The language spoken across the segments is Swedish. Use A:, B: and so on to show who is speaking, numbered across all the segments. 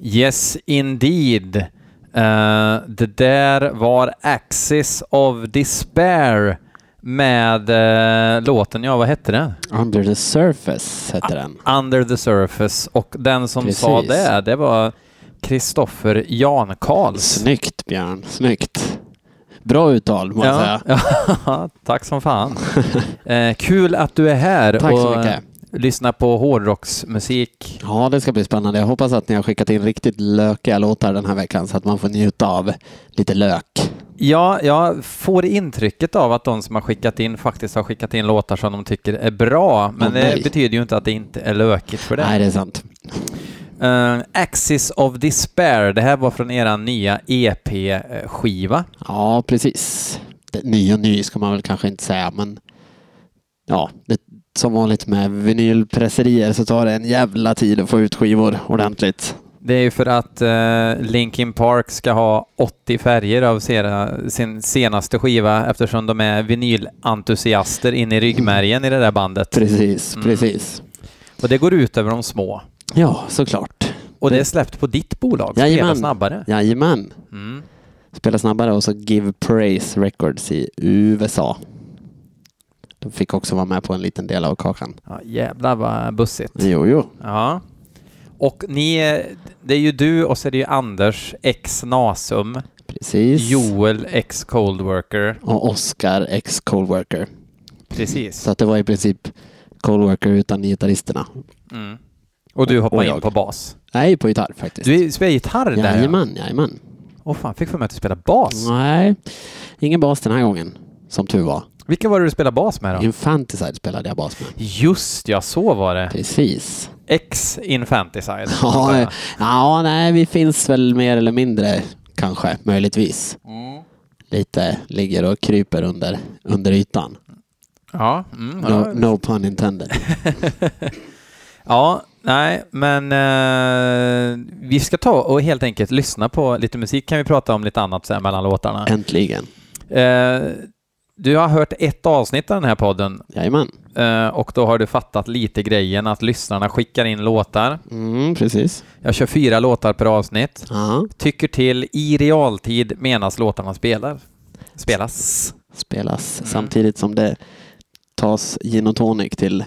A: Yes indeed. Eh, det där var Axis of Despair med eh, låten, ja vad hette den?
B: Under the surface hette den.
A: Under the Surface och den som sa
B: Precis.
A: det, det var Kristoffer Jan-Karls.
B: Snyggt Björn, snyggt. Bra uttal må jag
A: Ja,
B: säga.
A: ja, tack som fan. Eh, kul att du är här
B: Tack så
A: och
B: mycket.
A: lyssnar på hårdrocksmusik.
B: Ja, det ska bli spännande. Jag hoppas att ni har skickat in riktigt lökiga låtar den här veckan så att man får njuta av lite lök.
A: Ja, jag får intrycket av att de som har skickat in faktiskt har skickat in låtar som de tycker är bra, men
B: Åh,
A: det
B: nej.
A: betyder ju inte att det inte är lökigt för det.
B: Nej, det är sant.
A: Eh, Axis of Despair, det här var från era nya E EP-skiva.
B: Ja, precis. Det, ny och ny ska man väl kanske inte säga, men ja, det, som vanligt med vinylpresserier så tar det en jävla tid att få ut skivor ordentligt.
A: Det är ju för att eh, Linkin Park ska ha 80 färger av sera, sin senaste skiva eftersom de är vinylentusiaster in i ryggmärgen i det där bandet.
B: Precis,
A: Mm.
B: precis.
A: Och det går ut över de små.
B: Ja, såklart.
A: Och det är släppt på ditt bolag, Spela
B: Jajamän.
A: snabbare.
B: Jajamän.
A: Mm.
B: Spela snabbare och så Give Praise Records i USA. De fick också vara med på en liten del av kakan.
A: Ja, jävlar vad bussigt.
B: Jo, jo.
A: Ja. Och ni, eh, det är ju du och så är det ju Anders, ex Nasum,
B: Precis.
A: Joel, ex Coldworker.
B: Och Oscar ex Coldworker.
A: Precis.
B: Så att det var i princip Coldworker utan gitarristerna.
A: Mm. Och du
B: Och
A: hoppar in
B: jag.
A: på bas.
B: Nej, på gitarr faktiskt.
A: Du spelar gitarr där? ja.
B: Jajamän, jajamän.
A: Åh fan, fick för mig att du spelade bas.
B: Nej, ingen bas den här gången. Som tur var.
A: Vilka var det du spelade bas med då?
B: Infanticide spelade jag bas med.
A: Just ja, så var det.
B: Precis.
A: Ex Infanticide.
B: Typ. Ja, eh, ja, nej, vi finns väl mer eller mindre kanske, möjligtvis.
A: Mm.
B: Lite ligger och kryper under, under ytan.
A: Ja, mm,
B: No,
A: ja.
B: no pun intended.
A: ja, nej, men eh, vi ska ta och helt enkelt lyssna på lite musik. Kan vi prata om lite annat sen mellan låtarna?
B: Äntligen.
A: Eh, du har hört ett avsnitt av den här podden
B: Jajamän.
A: eh, och då har du fattat lite grejen att lyssnarna skickar in låtar.
B: Mm, precis.
A: Jag kör fyra låtar per avsnitt.
B: Ja,
A: tycker till i realtid menas låtarna spelar. spelas.
B: spelas
A: Mm.
B: samtidigt som det tas gin och tonic till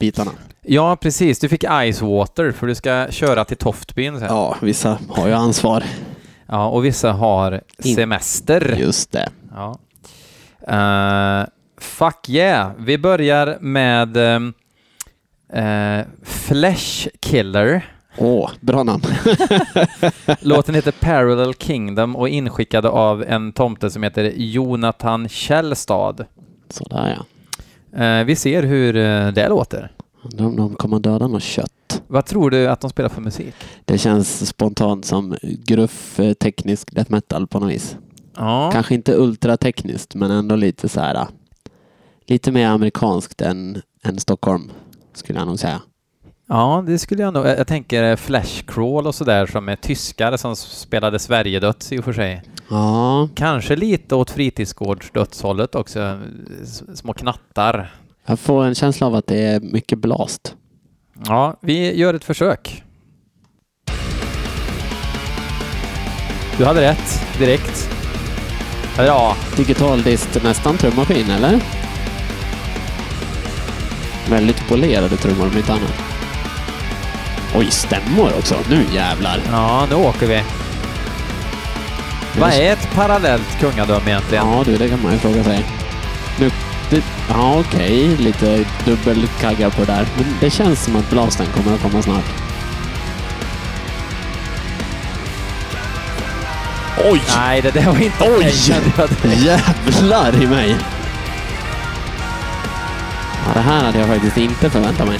B: bitarna.
A: Ja, precis. Du fick Ice Water för du ska köra till Toftbyn sen. Ja.
B: Ja, vissa har ju ansvar.
A: och vissa har
B: In-
A: semester.
B: Just det.
A: Ja. Eh, fuck yeah! Vi börjar med ehm, eh, Flesh Killer.
B: Åh, bra namn.
A: Låten heter Parallel Kingdom och är inskickad av en tomte som heter Jonathan Källstad.
B: Sådär ja.
A: Eh, vi ser hur eh, det låter.
B: Undrar om de kommer döda något kött.
A: Vad tror du att de spelar för musik?
B: Det känns spontant som gruff eh, teknisk death metal på något vis.
A: Ja.
B: Kanske inte ultratekniskt men ändå lite så här. eh, Lite mer amerikanskt än, än Stockholm skulle jag nog säga.
A: Ja, det skulle jag nog... Jag jag tänker Flashcrawl och sådär som är tyskare som spelade Sverigedöds i och för sig.
B: Ja,
A: Kanske lite åt fritidsgårdsdödshållet också, eh, s- små knattar.
B: jag får en känsla av att det är mycket blast.
A: Ja, vi gör ett försök. Du hade rätt, direkt. Eller ja,
B: Digital dist, nästan trummaskin eller? Väldigt polerade trummor om inte annat. Oj, stämmor också. Nu jävlar.
A: Ja, nu åker vi. Vad är ett parallellt kungadöme egentligen?
B: Ja du, det kan man ju fråga sig. Nu, det, ja okej, lite dubbelkaggar på det där. Men det känns som att blasten kommer att komma snart. Oj!
A: Nej, det där var inte okej,
B: Oj!
A: kände jag direkt.
B: Jävlar i mig! Ja, det här hade jag faktiskt inte förväntat mig.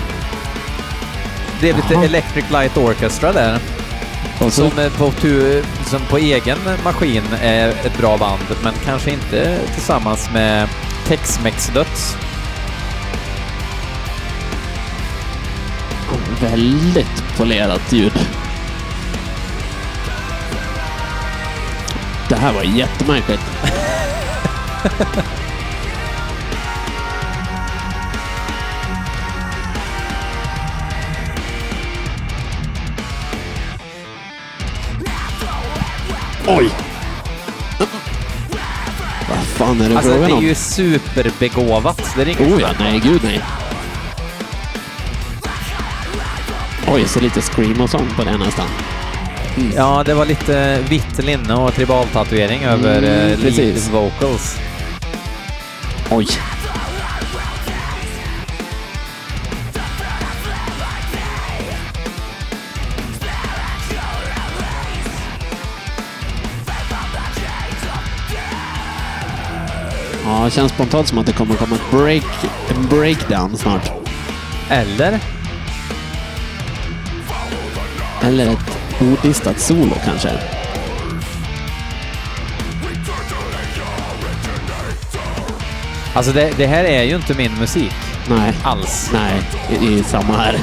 A: Det är lite
B: Jaha.
A: Electric Light Orchestra där.
B: Och så,
A: Som eh, på, tu- som på egen maskin är ett bra band, men kanske inte tillsammans med Tex-Mex Döds.
B: väldigt polerat ljud. Det här var jättemärkligt. Oj! Vad fan är det
A: Alltså, det
B: frågan
A: är
B: om?
A: ju superbegåvat. Det är inget
B: Oh ja, nej gud nej. Oj, så lite scream och sånt på det nästan.
A: Ja, det var lite vitt linne och tribaltatuering över eh, lead
B: Mm, precis.
A: vocals.
B: Oj. Ja, det känns spontant som att det kommer komma ett break, en breakdown snart.
A: Eller?
B: Eller ett odistat solo kanske.
A: Alltså, det, det här är ju inte min musik
B: Nej,
A: alls.
B: nej, i, i samma här.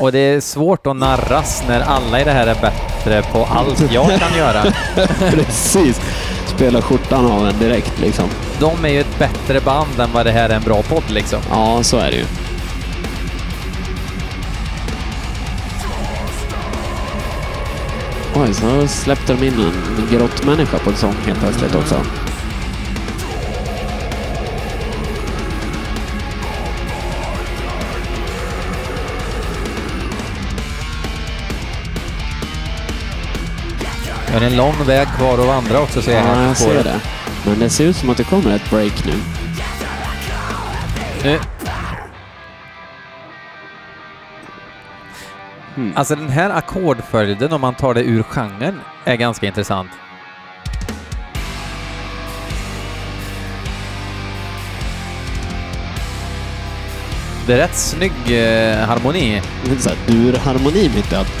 A: Och det är svårt att narras när alla i det här är bättre på allt jag kan göra.
B: Precis. Spela skjortan av en direkt liksom.
A: De är ju ett bättre band än vad det här är en bra podd liksom.
B: Ja, så är det ju. Oj, så släppte de in en grottmänniska på en sång helt plötsligt också.
A: Men det är en lång väg kvar att vandra också ser jag
B: Ja,
A: här på
B: jag ser
A: spåret.
B: det. Men det ser ut som att det kommer ett break nu.
A: Nu.
B: Hmm.
A: Alltså den här ackordföljden, om man tar det ur genren, är ganska intressant. Det är rätt snygg eh, harmoni.
B: Det är så här durharmoni mitt i allt.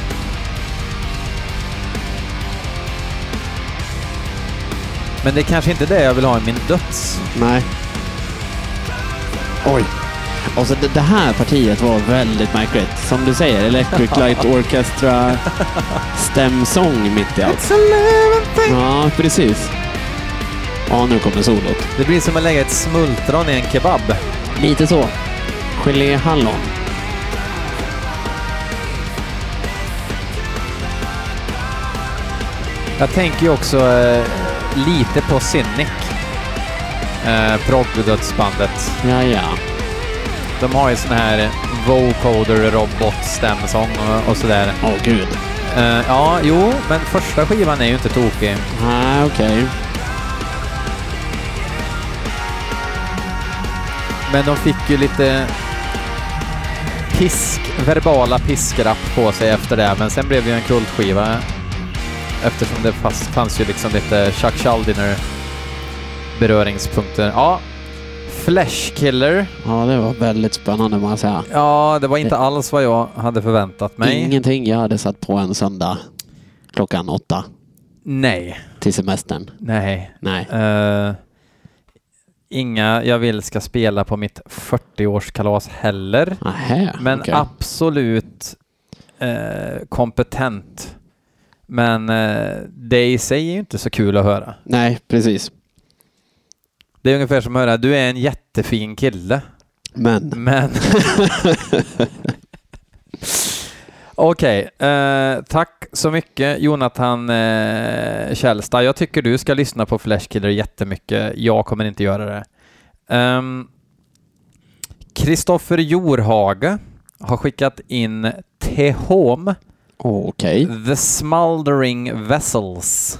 A: Men det är kanske inte det jag vill ha i min döds.
B: Nej. Oj. Och så Alltså, det, det här partiet var väldigt märkligt. Som du säger, Electric Light Orchestra stämsång mitt i allt. Ja, precis. Ja, nu kommer solot.
A: Det blir som att lägga ett smultron i en kebab.
B: Lite så. Geléhallon.
A: Jag tänker ju också eh, lite på Cynic. Eh, Progg-dödsbandet.
B: Ja, ja.
A: De har ju sån här vocoder robot stämsång och, och sådär.
B: Åh, gud.
A: Eh, ja, jo, men första skivan är ju inte tokig.
B: Nej, okej.
A: Men de fick ju lite pisk, verbala piskrapp på sig efter det. Men sen blev det ju en kultskiva. Eftersom det fast, fanns ju liksom lite Chuck Schuldiner beröringspunkter. Ja, Flash Killer.
B: Ja, det var väldigt spännande må jag säga.
A: Ja, det var inte alls vad jag hade förväntat mig.
B: Ingenting jag hade satt på en söndag klockan åtta
A: Nej.
B: till semestern.
A: Nej.
B: Nej.
A: Eh, inga jag vill ska spela på mitt 40-årskalas heller.
B: Nähä,
A: Men
B: okej.
A: absolut eh, kompetent. Men eh, det i sig är ju inte så kul att höra.
B: Nej, precis.
A: Det är ungefär som att höra du är en jättefin kille,
B: Men
A: men... Okej, eh, tack så mycket Jonathan eh, Källstad. Jag tycker du ska lyssna på Flash Killer jättemycket. Jag kommer inte göra det. Ehm, Kristoffer Jorhage har skickat in Te Home,
B: Okej.
A: The Smoldering Vessels.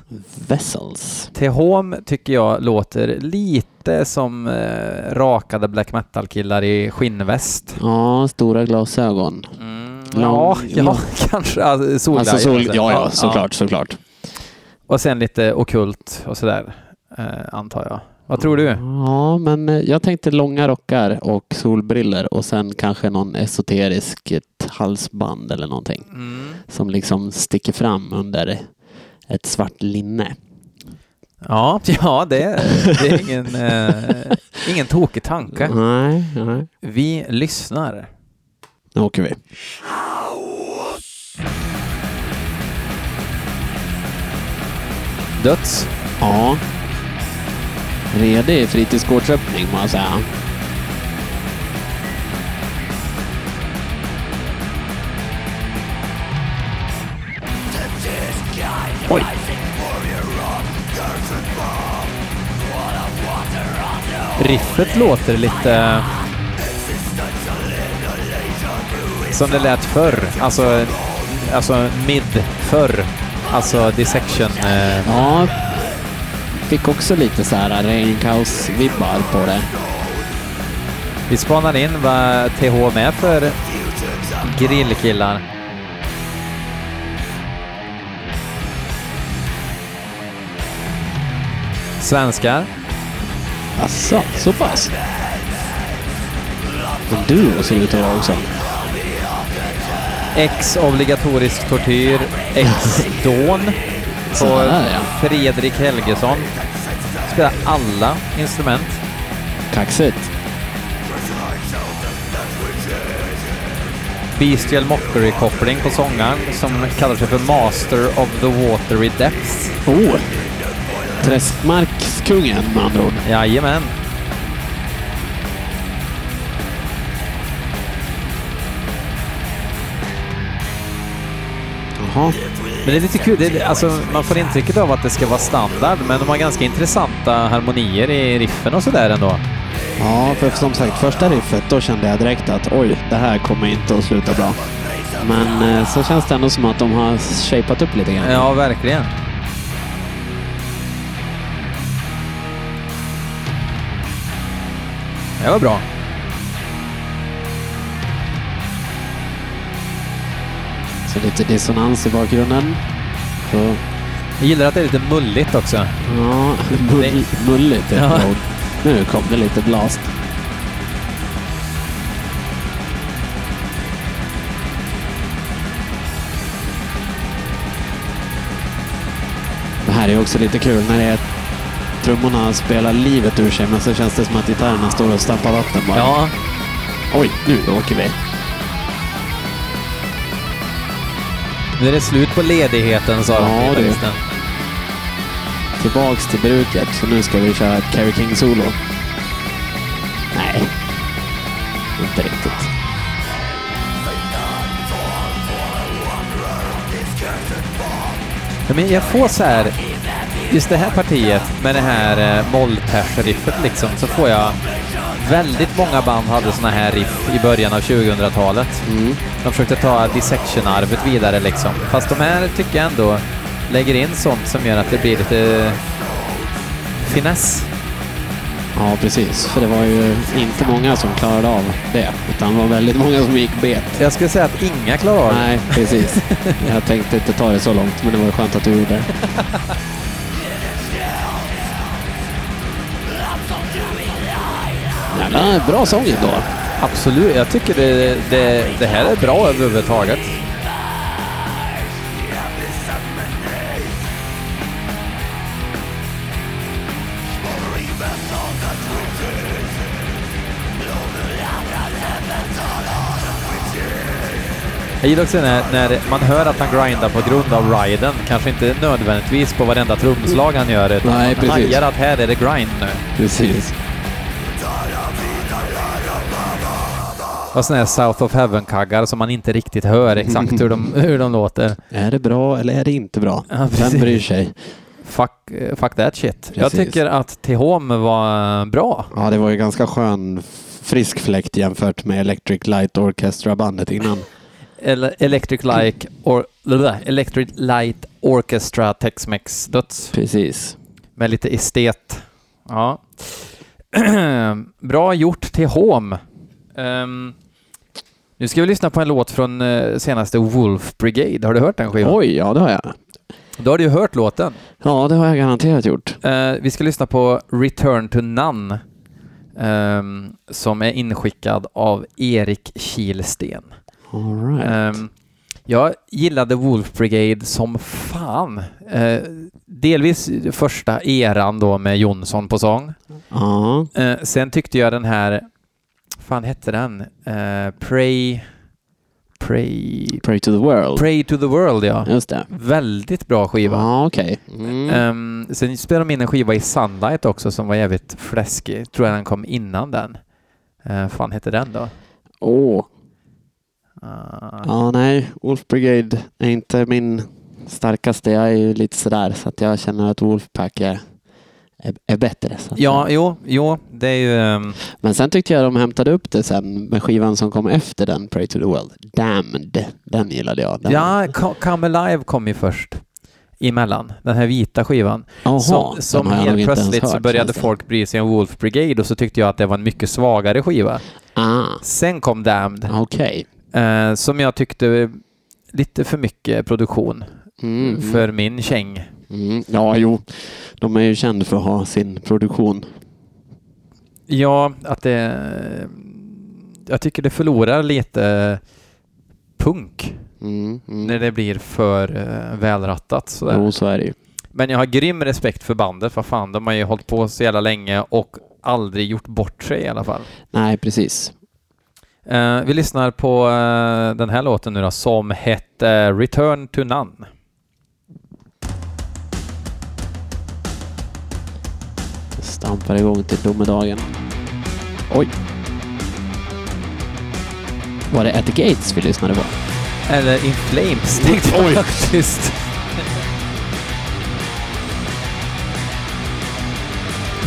B: Vessels.
A: Tehom tycker jag låter lite som eh, rakade black metal-killar i skinnväst.
B: Ja, stora glasögon.
A: Mm, ja,
B: Lång-
A: ja,
B: lång-
A: kanske. Alltså, solglajjor,
B: Alltså sol...
A: alltså.
B: Ja, ja, såklart, såklart.
A: Och sen lite okult och sådär, eh, antar jag. Vad tror du?
B: Ja, men eh, jag tänkte långa rockar och solbriller och sen kanske någon esoterisk ett halsband eller någonting
A: Mm.
B: som liksom sticker fram under ett svart linne.
A: Ja, ja det, det är ingen, eh, ingen tokig tanke.
B: Mm. Nej, nej.
A: Vi lyssnar.
B: Nu åker vi.
A: Döds.
B: Ja. Redig fritidsgårdsöppning må jag säga. Oj!
A: Riffet låter lite... Som det lät förr. Alltså, alltså mid förr. Alltså dissection. Eh,
B: Ja. Fick också lite så här regnkaos-vibbar på det.
A: vi spanar in vad TH är för grillkillar. Svenskar.
B: Asså, så pass? Och du ser det ut att vara också.
A: Ex obligatorisk tortyr. Ex dån.
B: Så
A: Och
B: där ja.
A: Fredrik Helgesson. Spelar alla instrument.
B: Kaxigt.
A: Bestial Mockery-koppling på sångaren som kallar sig för Master of the Watery Depths.
B: Oh! Träskmarkskungen med andra ord.
A: Jajamän.
B: Jaha.
A: Men det är lite kul. Det är, alltså, man får intrycket av att det ska vara standard, men de har ganska intressanta harmonier i riffen och sådär ändå.
B: Ja, för som sagt, första riffet, då kände jag direkt att oj, det här kommer inte att sluta bra. Men eh, så känns det ändå som att de har shapat upp lite grann.
A: Ja, verkligen. Det var bra.
B: Så lite dissonans i bakgrunden. Så,
A: Jag gillar att det är lite mulligt också.
B: ja, mull, mulligt är ett
A: Ja.
B: ord. Nu kom det lite blast. Det här är också lite kul när det är trummorna spelar livet ur sig men så känns det som att gitarrerna står och stampar vatten bara.
A: Ja,
B: Oj, nu åker vi.
A: nu är det slut på ledigheten, sa de.
B: Ja, du.
A: gitarristen.
B: Tillbaks till bruket, så nu ska vi köra ett Carrie King-solo. Nej, inte riktigt.
A: Ja, men jag får så här, just det här partiet med det här eh, mollpers-riffet liksom, så får jag väldigt många band hade såna här riff i början av 2000-talet.
B: Mm.
A: De försökte ta dissection-arvet vidare liksom. Fast de här tycker jag ändå lägger in sånt som gör att det blir lite finess.
B: Ja, precis. För det var ju inte många som klarade av det. Utan det var väldigt många som gick bet.
A: Jag skulle säga att inga klarar av det.
B: Nej, precis. Jag tänkte inte ta det så långt, men det var ju skönt att du gjorde det. Jävla bra sång ändå.
A: Absolut, jag tycker det, det, det här är bra överhuvudtaget. Jag gillar också när, när man hör att han grindar på grund av riden. Kanske inte nödvändigtvis på varenda trumslag han gör, utan
B: Nej,
A: man
B: precis.
A: hajar att här är det grind nu.
B: Precis.
A: Och sådana här South of Heaven-kaggar som man inte riktigt hör exakt hur de, hur de låter.
B: Är det bra eller är det inte bra?
A: Ja, precis.
B: Vem bryr sig?
A: Fuck, eh, fuck that shit. Jag
B: Precis.
A: tycker att Tehom var eh, bra.
B: Ja, det var ju ganska skön frisk fläkt jämfört med Electric Light Orchestra-bandet innan.
A: Ele- Electric Like or, blablabla, Electric Light Orchestra Tex-Mex Döds
B: Precis.
A: med lite estet. Ja. Bra gjort till Home. Ehm, nu ska vi lyssna på en låt från eh, senaste Wolf Brigade. Har du hört den skivan?
B: Oj, ja det har jag.
A: Då har du ju hört låten.
B: Ja, det har jag garanterat gjort.
A: Eh, vi ska lyssna på Return to None ehm, som är inskickad av Erik Kilsten.
B: All right.
A: Ehm, jag gillade Wolf Brigade som fan. Eh, delvis första eran då med Jonsson på sång.
B: ja.
A: Eh, sen tyckte jag den här, fan hette den? Eh, Pray, Pray,
B: Pray to the world.
A: Pray to the World ja.
B: Just det.
A: Väldigt bra skiva.
B: Ja, okej. Mm.
A: Ehm, sen spelade de in en skiva i Sunlight också som var jävligt fläskig. Tror jag den kom innan den. Uh, fan hette den då?
B: Åh.
A: Ah,
B: Ja, nej. Wolf Brigade är inte min starkaste. Jag är ju lite sådär, så att jag känner att Wolfpack är, är, är bättre. Så att
A: Ja, jo, jo, det är ju... ehm,
B: Men sen tyckte jag de hämtade upp det sen med skivan som kom efter den, Pray to the World. Damned. Den gillade jag. Den.
A: Ja, Co- Come Alive kom ju först emellan, den här vita skivan.
B: Jaha,
A: som
B: den
A: som
B: har jag nog
A: helt
B: inte ens
A: plötsligt så
B: hört,
A: började
B: känns det.
A: folk bry sig om Wolf Brigade och så tyckte jag att det var en mycket svagare skiva.
B: Ah,
A: Sen kom Damned,
B: okej.
A: eh, som jag tyckte lite för mycket produktion
B: Mm.
A: för min käng.
B: Mm. Ja, jo. De är ju kända för att ha sin produktion.
A: Ja, att det... Jag tycker det förlorar lite punk
B: Mm. Mm.
A: när det blir för eh, välrattat. Sådär.
B: Jo, så är det ju.
A: Men jag har grym respekt för bandet, för fan, de har ju hållit på så jävla länge och aldrig gjort bort sig i alla fall.
B: Nej, precis.
A: Eh, vi lyssnar på eh, den här låten nu då, som hette Return to None.
B: Stampar igång till domedagen. Oj. Var det At the Gates vi lyssnade på?
A: Eller In Flames tänkte
B: Oj.
A: jag faktiskt.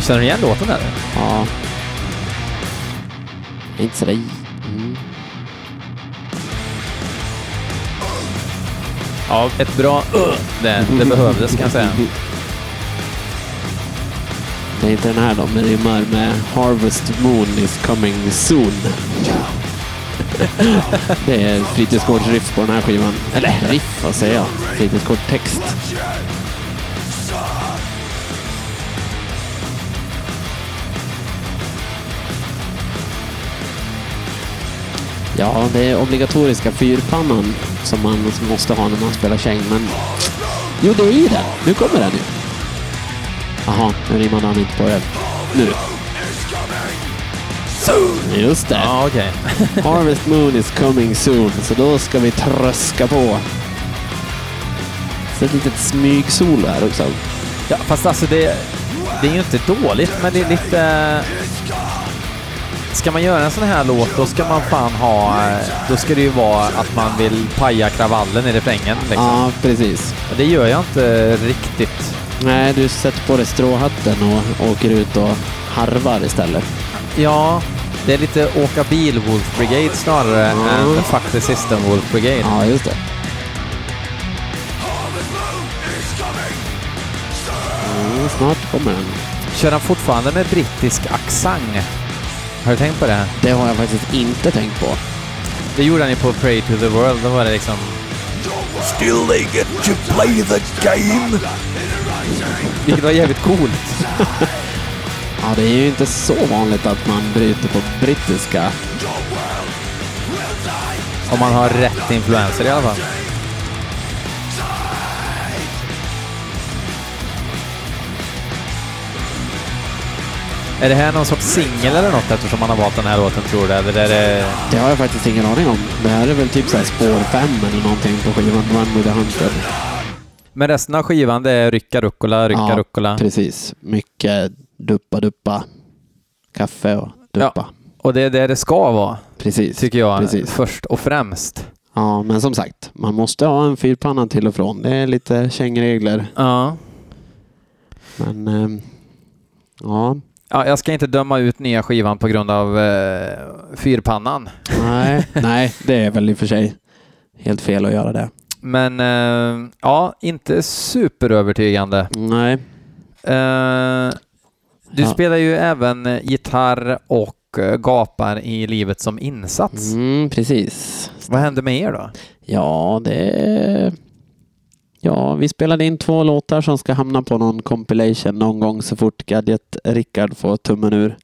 A: Känner du igen låten eller?
B: Ja. Inte sådär... Mm.
A: Ja, ett bra uh, det, det behövdes kan jag säga.
B: Det är inte den här då, men rimmar med Harvest Moon is coming soon. Det är fritidsgårdsriff på den här skivan. Eller riff, vad säger jag? Fritidsgårdstext. Ja, det är obligatoriska fyrpannan som man måste ha när man spelar käng, men... Jo, det är ju den. Nu kommer den ju. Jaha, nu rimmade han inte på det. Nu. Just det.
A: Ja, okej.
B: Harvest Moon is coming soon, så då ska vi tröska på. Så ett litet smygsolo här också.
A: Ja, fast alltså det, det är ju inte dåligt, men det är lite... eh, Ska man göra en sån här låt, då ska man fan ha... eh, Då ska det ju vara att man vill paja kravallen i refrängen. Liksom.
B: Ja, precis.
A: Det gör jag inte riktigt.
B: Nej, du sätter på dig stråhatten och åker ut och harvar istället.
A: Ja, det är lite åka bil Wolf Brigade snarare
B: Mm.
A: än Fuck the System Wolf Brigade.
B: Ja, just det. Mm, snart kommer den.
A: Kör han fortfarande med brittisk accent? Har du tänkt på det?
B: Det har jag faktiskt inte tänkt på.
A: Det gjorde han ju på Pray to the World. Då var det liksom...
C: Still they get to play the game?
A: Vilket var jävligt coolt.
B: Ja, det är ju inte så vanligt att man bryter på brittiska.
A: Om man har rätt influenser i alla fall. Är det här någon sorts singel eller något eftersom man har valt den här låten tror du? Eller är det...
B: Det har jag faktiskt ingen aning om. Det här är väl typ såhär spår 5 eller någonting på skivan Run with the Hunter.
A: Men resten av skivan det är rycka rucola, rycka rucola.
B: precis. Mycket duppa duppa. Kaffe och duppa.
A: Ja. Och det är det det ska vara,
B: Precis.
A: tycker jag,
B: Precis.
A: först och främst.
B: Ja, men som sagt. Man måste ha en fyrpanna till och från. Det är lite kängregler.
A: Ja.
B: Men... ehm, ja.
A: ja. Jag ska inte döma ut nya skivan på grund av eh, fyrpannan.
B: Nej. Nej, det är väl i och för sig helt fel att göra det.
A: Men eh, ja, inte superövertygande.
B: Nej.
A: Eh, du
B: Ja.
A: spelar ju även eh, gitarr och eh, gapar i livet som insats.
B: Mm, precis.
A: Vad hände med er då?
B: Ja, det... Ja, vi spelade in två låtar som ska hamna på någon compilation någon gång så fort Gadget Rickard får tummen ur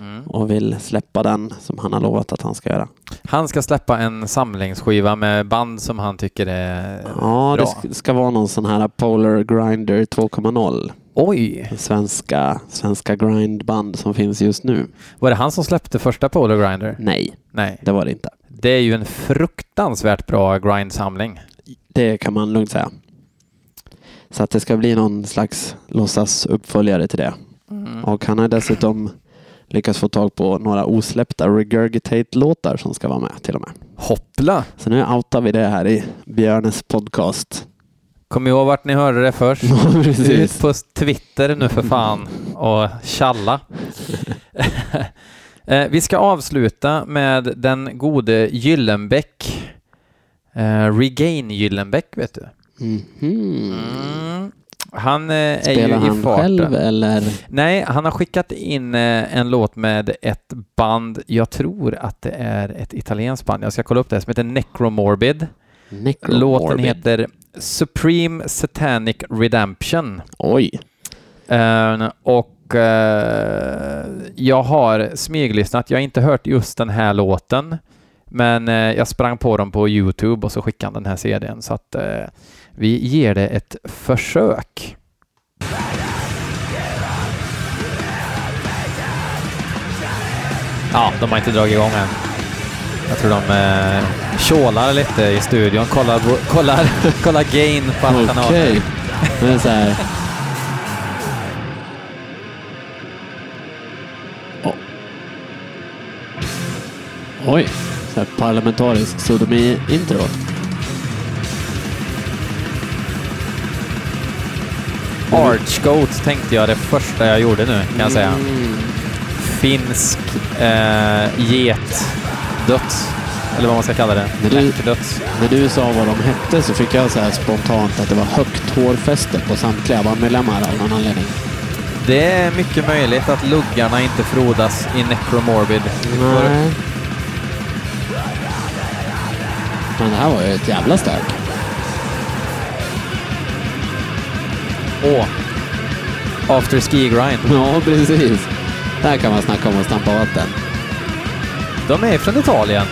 A: Mm.
B: och vill släppa den som han har lovat att han ska göra.
A: Han ska släppa en samlingsskiva med band som han tycker är...
B: Ja, det
A: Bra.
B: sk- ska vara någon sån här Polar Grinder 2.0.
A: Oj!
B: Svenska, svenska grindband som finns just nu.
A: Var det han som släppte första Polar Grinder?
B: Nej,
A: Nej.
B: det var det inte.
A: Det är ju en fruktansvärt bra grindsamling.
B: Det kan man lugnt säga. Så att det ska bli någon slags låtsas uppföljare till det. Mm. Och han har dessutom lyckats få tag på några osläppta Regurgitate-låtar som ska vara med till och med.
A: Hoppla!
B: Så nu outar vi det här i Björnes podcast.
A: Kom ihåg vart ni hörde det först.
B: Ja, precis.
A: Ut på Twitter nu för fan och tjalla. Eh, Vi ska avsluta med den gode Gyllenbäck. Eh, Regain Gyllenbäck, vet du.
B: Mhm.
A: Mm. Han eh, är ju
B: Spelar
A: i
B: han
A: farten.
B: själv eller?
A: Nej, han har skickat in eh, en låt med ett band, jag tror att det är ett italienskt band, jag ska kolla upp det, här, som heter Necromorbid.
B: Necromorbid?
A: Låten heter Supreme Satanic Redemption.
B: Oj.
A: Eh, och eh, jag har smyglyssnat, jag har inte hört just den här låten, men eh, jag sprang på dem på YouTube och så skickade han den här CDn, så att eh, vi ger det ett försök. Ja, de har inte dragit igång än. Jag tror de eh, tjålar lite i studion, kollar, kollar, kollar gain på att han har
B: Okej. Men så här. Åh. Oj, så här parlamentarisk sodomi-intro.
A: Archgoat tänkte jag det första jag gjorde nu, kan jag säga. Finsk eh, getdöds. Eller vad man ska kalla det.
B: Men du-
A: Läckdöds.
B: När du sa vad de hette så fick jag så här spontant att det var högt hårfäste på samtliga bandmedlemmar av någon anledning.
A: Det är mycket möjligt att luggarna inte frodas i Necromorbid.
B: Men det här var ju ett jävla stök.
A: Åh! After Ski Grind.
B: Ja, precis. Där kan man snacka om att stampa vatten.
A: De är från Italien.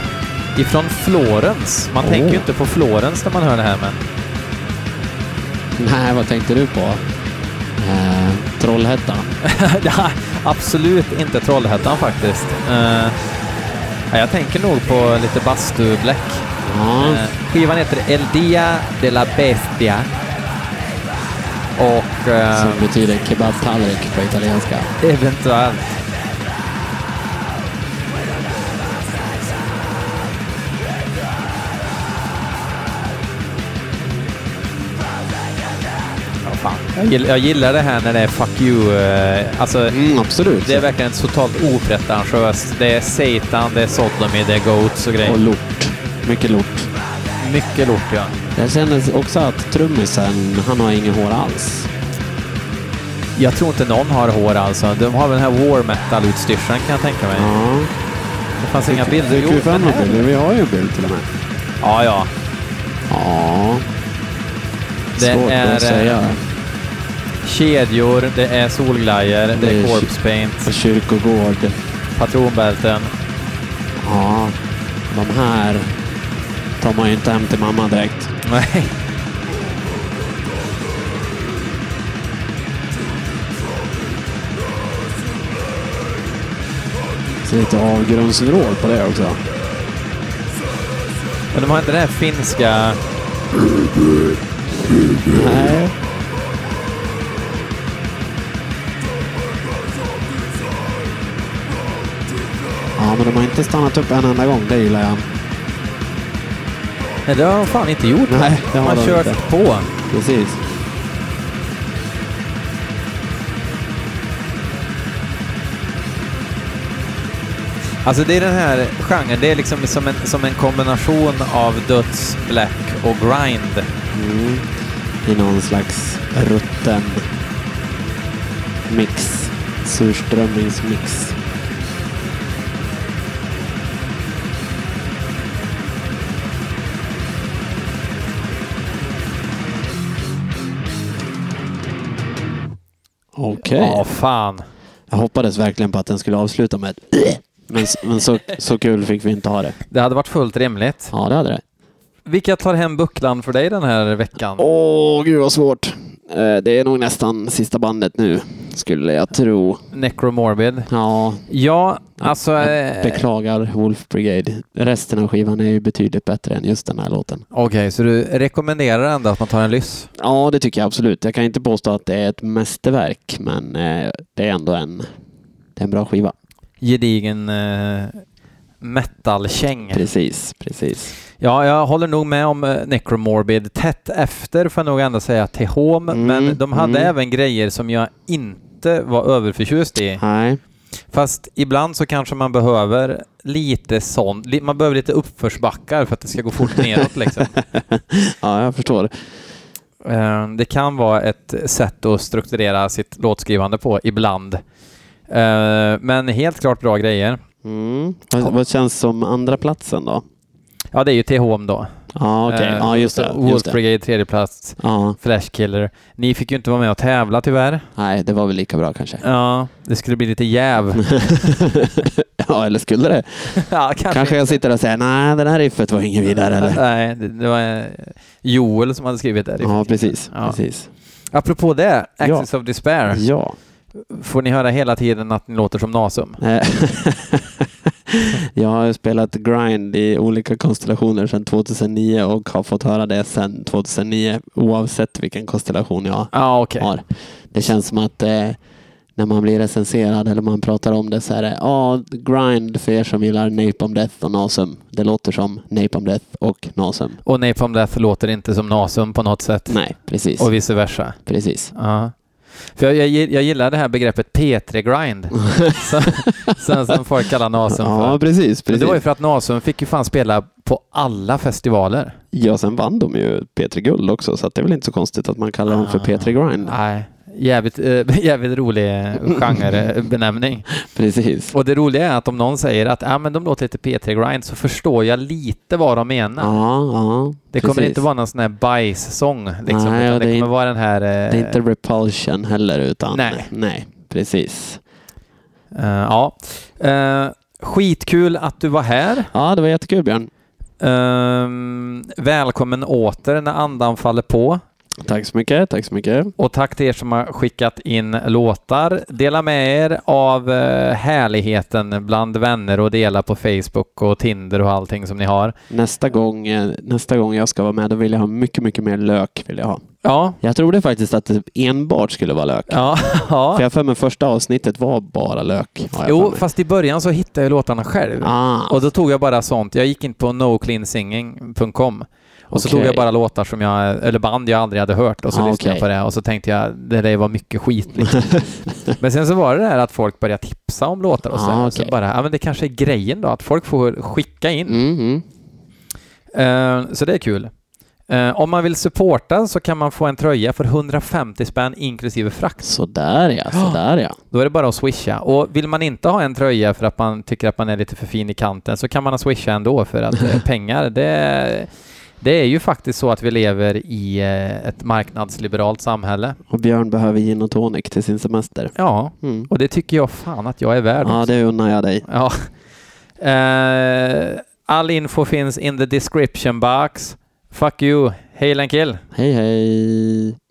A: Ifrån Florens. Man
B: Åh.
A: tänker ju inte på Florens när man hör det här, men...
B: Nej, vad tänkte du på? Eh, Trollhättan.
A: Ja, absolut inte Trollhättan faktiskt. Eh, ja, jag tänker nog på lite bastubläck.
B: Ja,
A: Eh, Skivan heter El Dia de la Bestia. Och eh,
B: som betyder kebabtallrik på italienska.
A: eventuellt... Ja, fan. Jag gill- Jag gillar det här när det är fuck you. eh, Alltså,
B: Mm, absolut.
A: det är verkligen totalt opretentiöst. Det är Satan, det är Sodomy, det är Goats och
B: Och
A: grejer.
B: lort. Mycket lort.
A: Mycket lort, ja.
B: Jag känner också att trummisen, han har ingen hår alls.
A: Jag tror inte någon har hår alltså. De har väl den här war metal-utstyrseln kan jag tänka mig.
B: Ja.
A: Det fanns inga bilder.
B: Dyker vi fram
A: den
B: några
A: här-
B: bilder? Vi har ju en bild till och med.
A: Ja, ja.
B: Ja.
A: Det
B: Svårt
A: är,
B: att säga.
A: Kedjor, det är solglajjor, det
B: Det
A: är
B: är-
A: corpse paint,
B: Kyrkogård.
A: patronbälten.
B: Ja. De här tar man ju inte hem till mamma direkt.
A: Nej.
B: Så lite avgrundsvrål på det också.
A: Men de har inte det här finska...
B: Nej. Ja, men de har inte stannat upp en enda gång. Det gillar jag.
A: Nej, det har de fan inte gjort.
B: Nej,
A: De
B: det har
A: har
B: de
A: kört
B: inte.
A: på.
B: Precis.
A: Alltså det är den här genren, det är liksom som en, som en kombination av döds, black och grind.
B: Mm. I någon slags rutten mix. Surströmmingsmix. Okej.
A: Ja, fan.
B: Jag hoppades verkligen på att den skulle avsluta med ett men, s- men så, så kul fick vi inte ha det.
A: Det hade varit fullt rimligt.
B: Ja, det hade det.
A: Vilka tar hem bucklan för dig den här veckan?
B: Åh, gud vad svårt. Eh, Det är nog nästan sista bandet nu, skulle jag tro.
A: Necromorbid.
B: Ja,
A: Ja, alltså... eh, Okej,
B: beklagar Wolf Brigade. Resten av skivan är ju betydligt bättre än just den här låten.
A: så du rekommenderar ändå att man tar en lyss?
B: Ja, det tycker jag absolut. Jag kan inte påstå att det är ett mästerverk, men eh, det är ändå en, det är en bra skiva.
A: Gedigen eh, metal-käng.
B: Precis, precis.
A: Ja, jag håller nog med om eh, Necromorbid. Tätt efter får jag nog ändå säga Tehom,
B: Mm,
A: men de hade
B: mm.
A: även grejer som jag inte var överförtjust i.
B: Nej,
A: Fast ibland så kanske man behöver lite sånt. li- Man behöver lite uppförsbackar för att det ska gå fort neråt liksom.
B: ja, jag förstår.
A: Eh, Det kan vara ett sätt att strukturera sitt låtskrivande på ibland. Eh, Men helt klart bra grejer.
B: Mm. Vad, vad känns som andra platsen då?
A: Ja, det är ju Tehom då.
B: Ja, okej.
A: Eh,
B: Ja, just det.
A: Wolf
B: Just det.
A: Brigade tredje plats,
B: Ja,
A: Flash Killer. Ni fick ju inte vara med och tävla tyvärr.
B: nej, det var väl lika bra kanske.
A: Ja, det skulle bli lite jäv.
B: ja, eller skulle det?
A: ja, kanske.
B: Kanske jag sitter och säger nej, det där riffet var inget vidare. Eller?
A: Nej, det, det var eh, Joel som hade skrivit det.
B: Ja, precis.
A: Ja.
B: precis.
A: Apropå det,
B: Ja.
A: Axis of Despair.
B: Ja.
A: Får ni höra hela tiden att ni låter som Nasum?
B: Eh, jag har ju spelat grind i olika konstellationer sedan 2009 och har fått höra det sedan 2009 oavsett vilken konstellation jag
A: Ja, okej.
B: har. Det känns som att eh, när man blir recenserad eller man pratar om det så är det ja, grind för er som gillar Napalm Death och Nasum. Det låter som Napalm Death och Nasum.
A: Och Napalm Death låter inte som Nasum på något sätt.
B: Nej, precis.
A: Och vice versa.
B: precis.
A: Ja. För jag, jag, gi- jag gillar det här begreppet P3-grind. som, som, som folk kallar Nasum
B: Ja,
A: för.
B: precis.
A: Men
B: precis.
A: det var ju för att Nasum fick ju fan spela på alla festivaler.
B: Ja, sen vann de ju P3 Guld också, så att det är väl inte så konstigt att man kallar dem för
A: Ah.
B: P3 Grind.
A: Nej, jävligt, eh, jävligt rolig genrebenämning.
B: Precis.
A: Och det roliga är att om någon säger att ah, men de låter lite P3-grind så förstår jag lite vad de menar.
B: Ja, ja.
A: Det
B: precis.
A: kommer inte vara någon sån här bajssång. Liksom,
B: Nej,
A: utan det,
B: och det är
A: kommer
B: in-
A: vara den här... eh,
B: Det är inte Repulsion heller, utan
A: Nej.
B: nej precis.
A: eh, ja. Eh, skitkul att du var här.
B: Ja, det var jättekul Björn.
A: Ehm, välkommen åter när andan faller på.
B: Tack så mycket, tack så mycket.
A: Och tack till er som har skickat in låtar. Dela med er av eh, härligheten bland vänner och dela på Facebook och Tinder och allting som ni har.
B: Nästa gång, eh, nästa gång jag ska vara med, då vill jag ha mycket, mycket mer lök. Vill jag ha.
A: Ja,
B: Jag trodde faktiskt att det enbart skulle vara lök.
A: ja,
B: För
A: ja.
B: jag har för mig första avsnittet var bara lök. har jag för
A: Jo,
B: mig.
A: fast i början så hittade jag låtarna själv.
B: Ah,
A: Och då tog jag bara sånt. Jag gick in på nocleansinging.com och så
B: Okej.
A: tog jag bara låtar som jag, eller band jag aldrig hade hört och så
B: Ah,
A: lyssnade jag
B: okej.
A: på det och så tänkte jag det där var mycket skit liksom. Men sen så var det det här att folk började tipsa om låtar och så,
B: Ah,
A: och så
B: okej.
A: bara, ja men det kanske är grejen då att folk får skicka in.
B: mm, mm.
A: Eh, så det är kul. Eh, om man vill supporta så kan man få en tröja för 150 spänn inklusive frakt.
B: Sådär ja, sådär ja.
A: Då är det bara att swisha. Och vill man inte ha en tröja för att man tycker att man är lite för fin i kanten så kan man swisha ändå för att eh, pengar, det, det är ju faktiskt så att vi lever i eh, ett marknadsliberalt samhälle.
B: Och Björn behöver gin och tonic till sin semester.
A: Ja,
B: Mm.
A: och det tycker jag fan att jag är värd.
B: Ja, det unnar jag dig.
A: Ja. Eh, all info finns in the description box. Fuck you. Hail and kill.
B: Hej hej!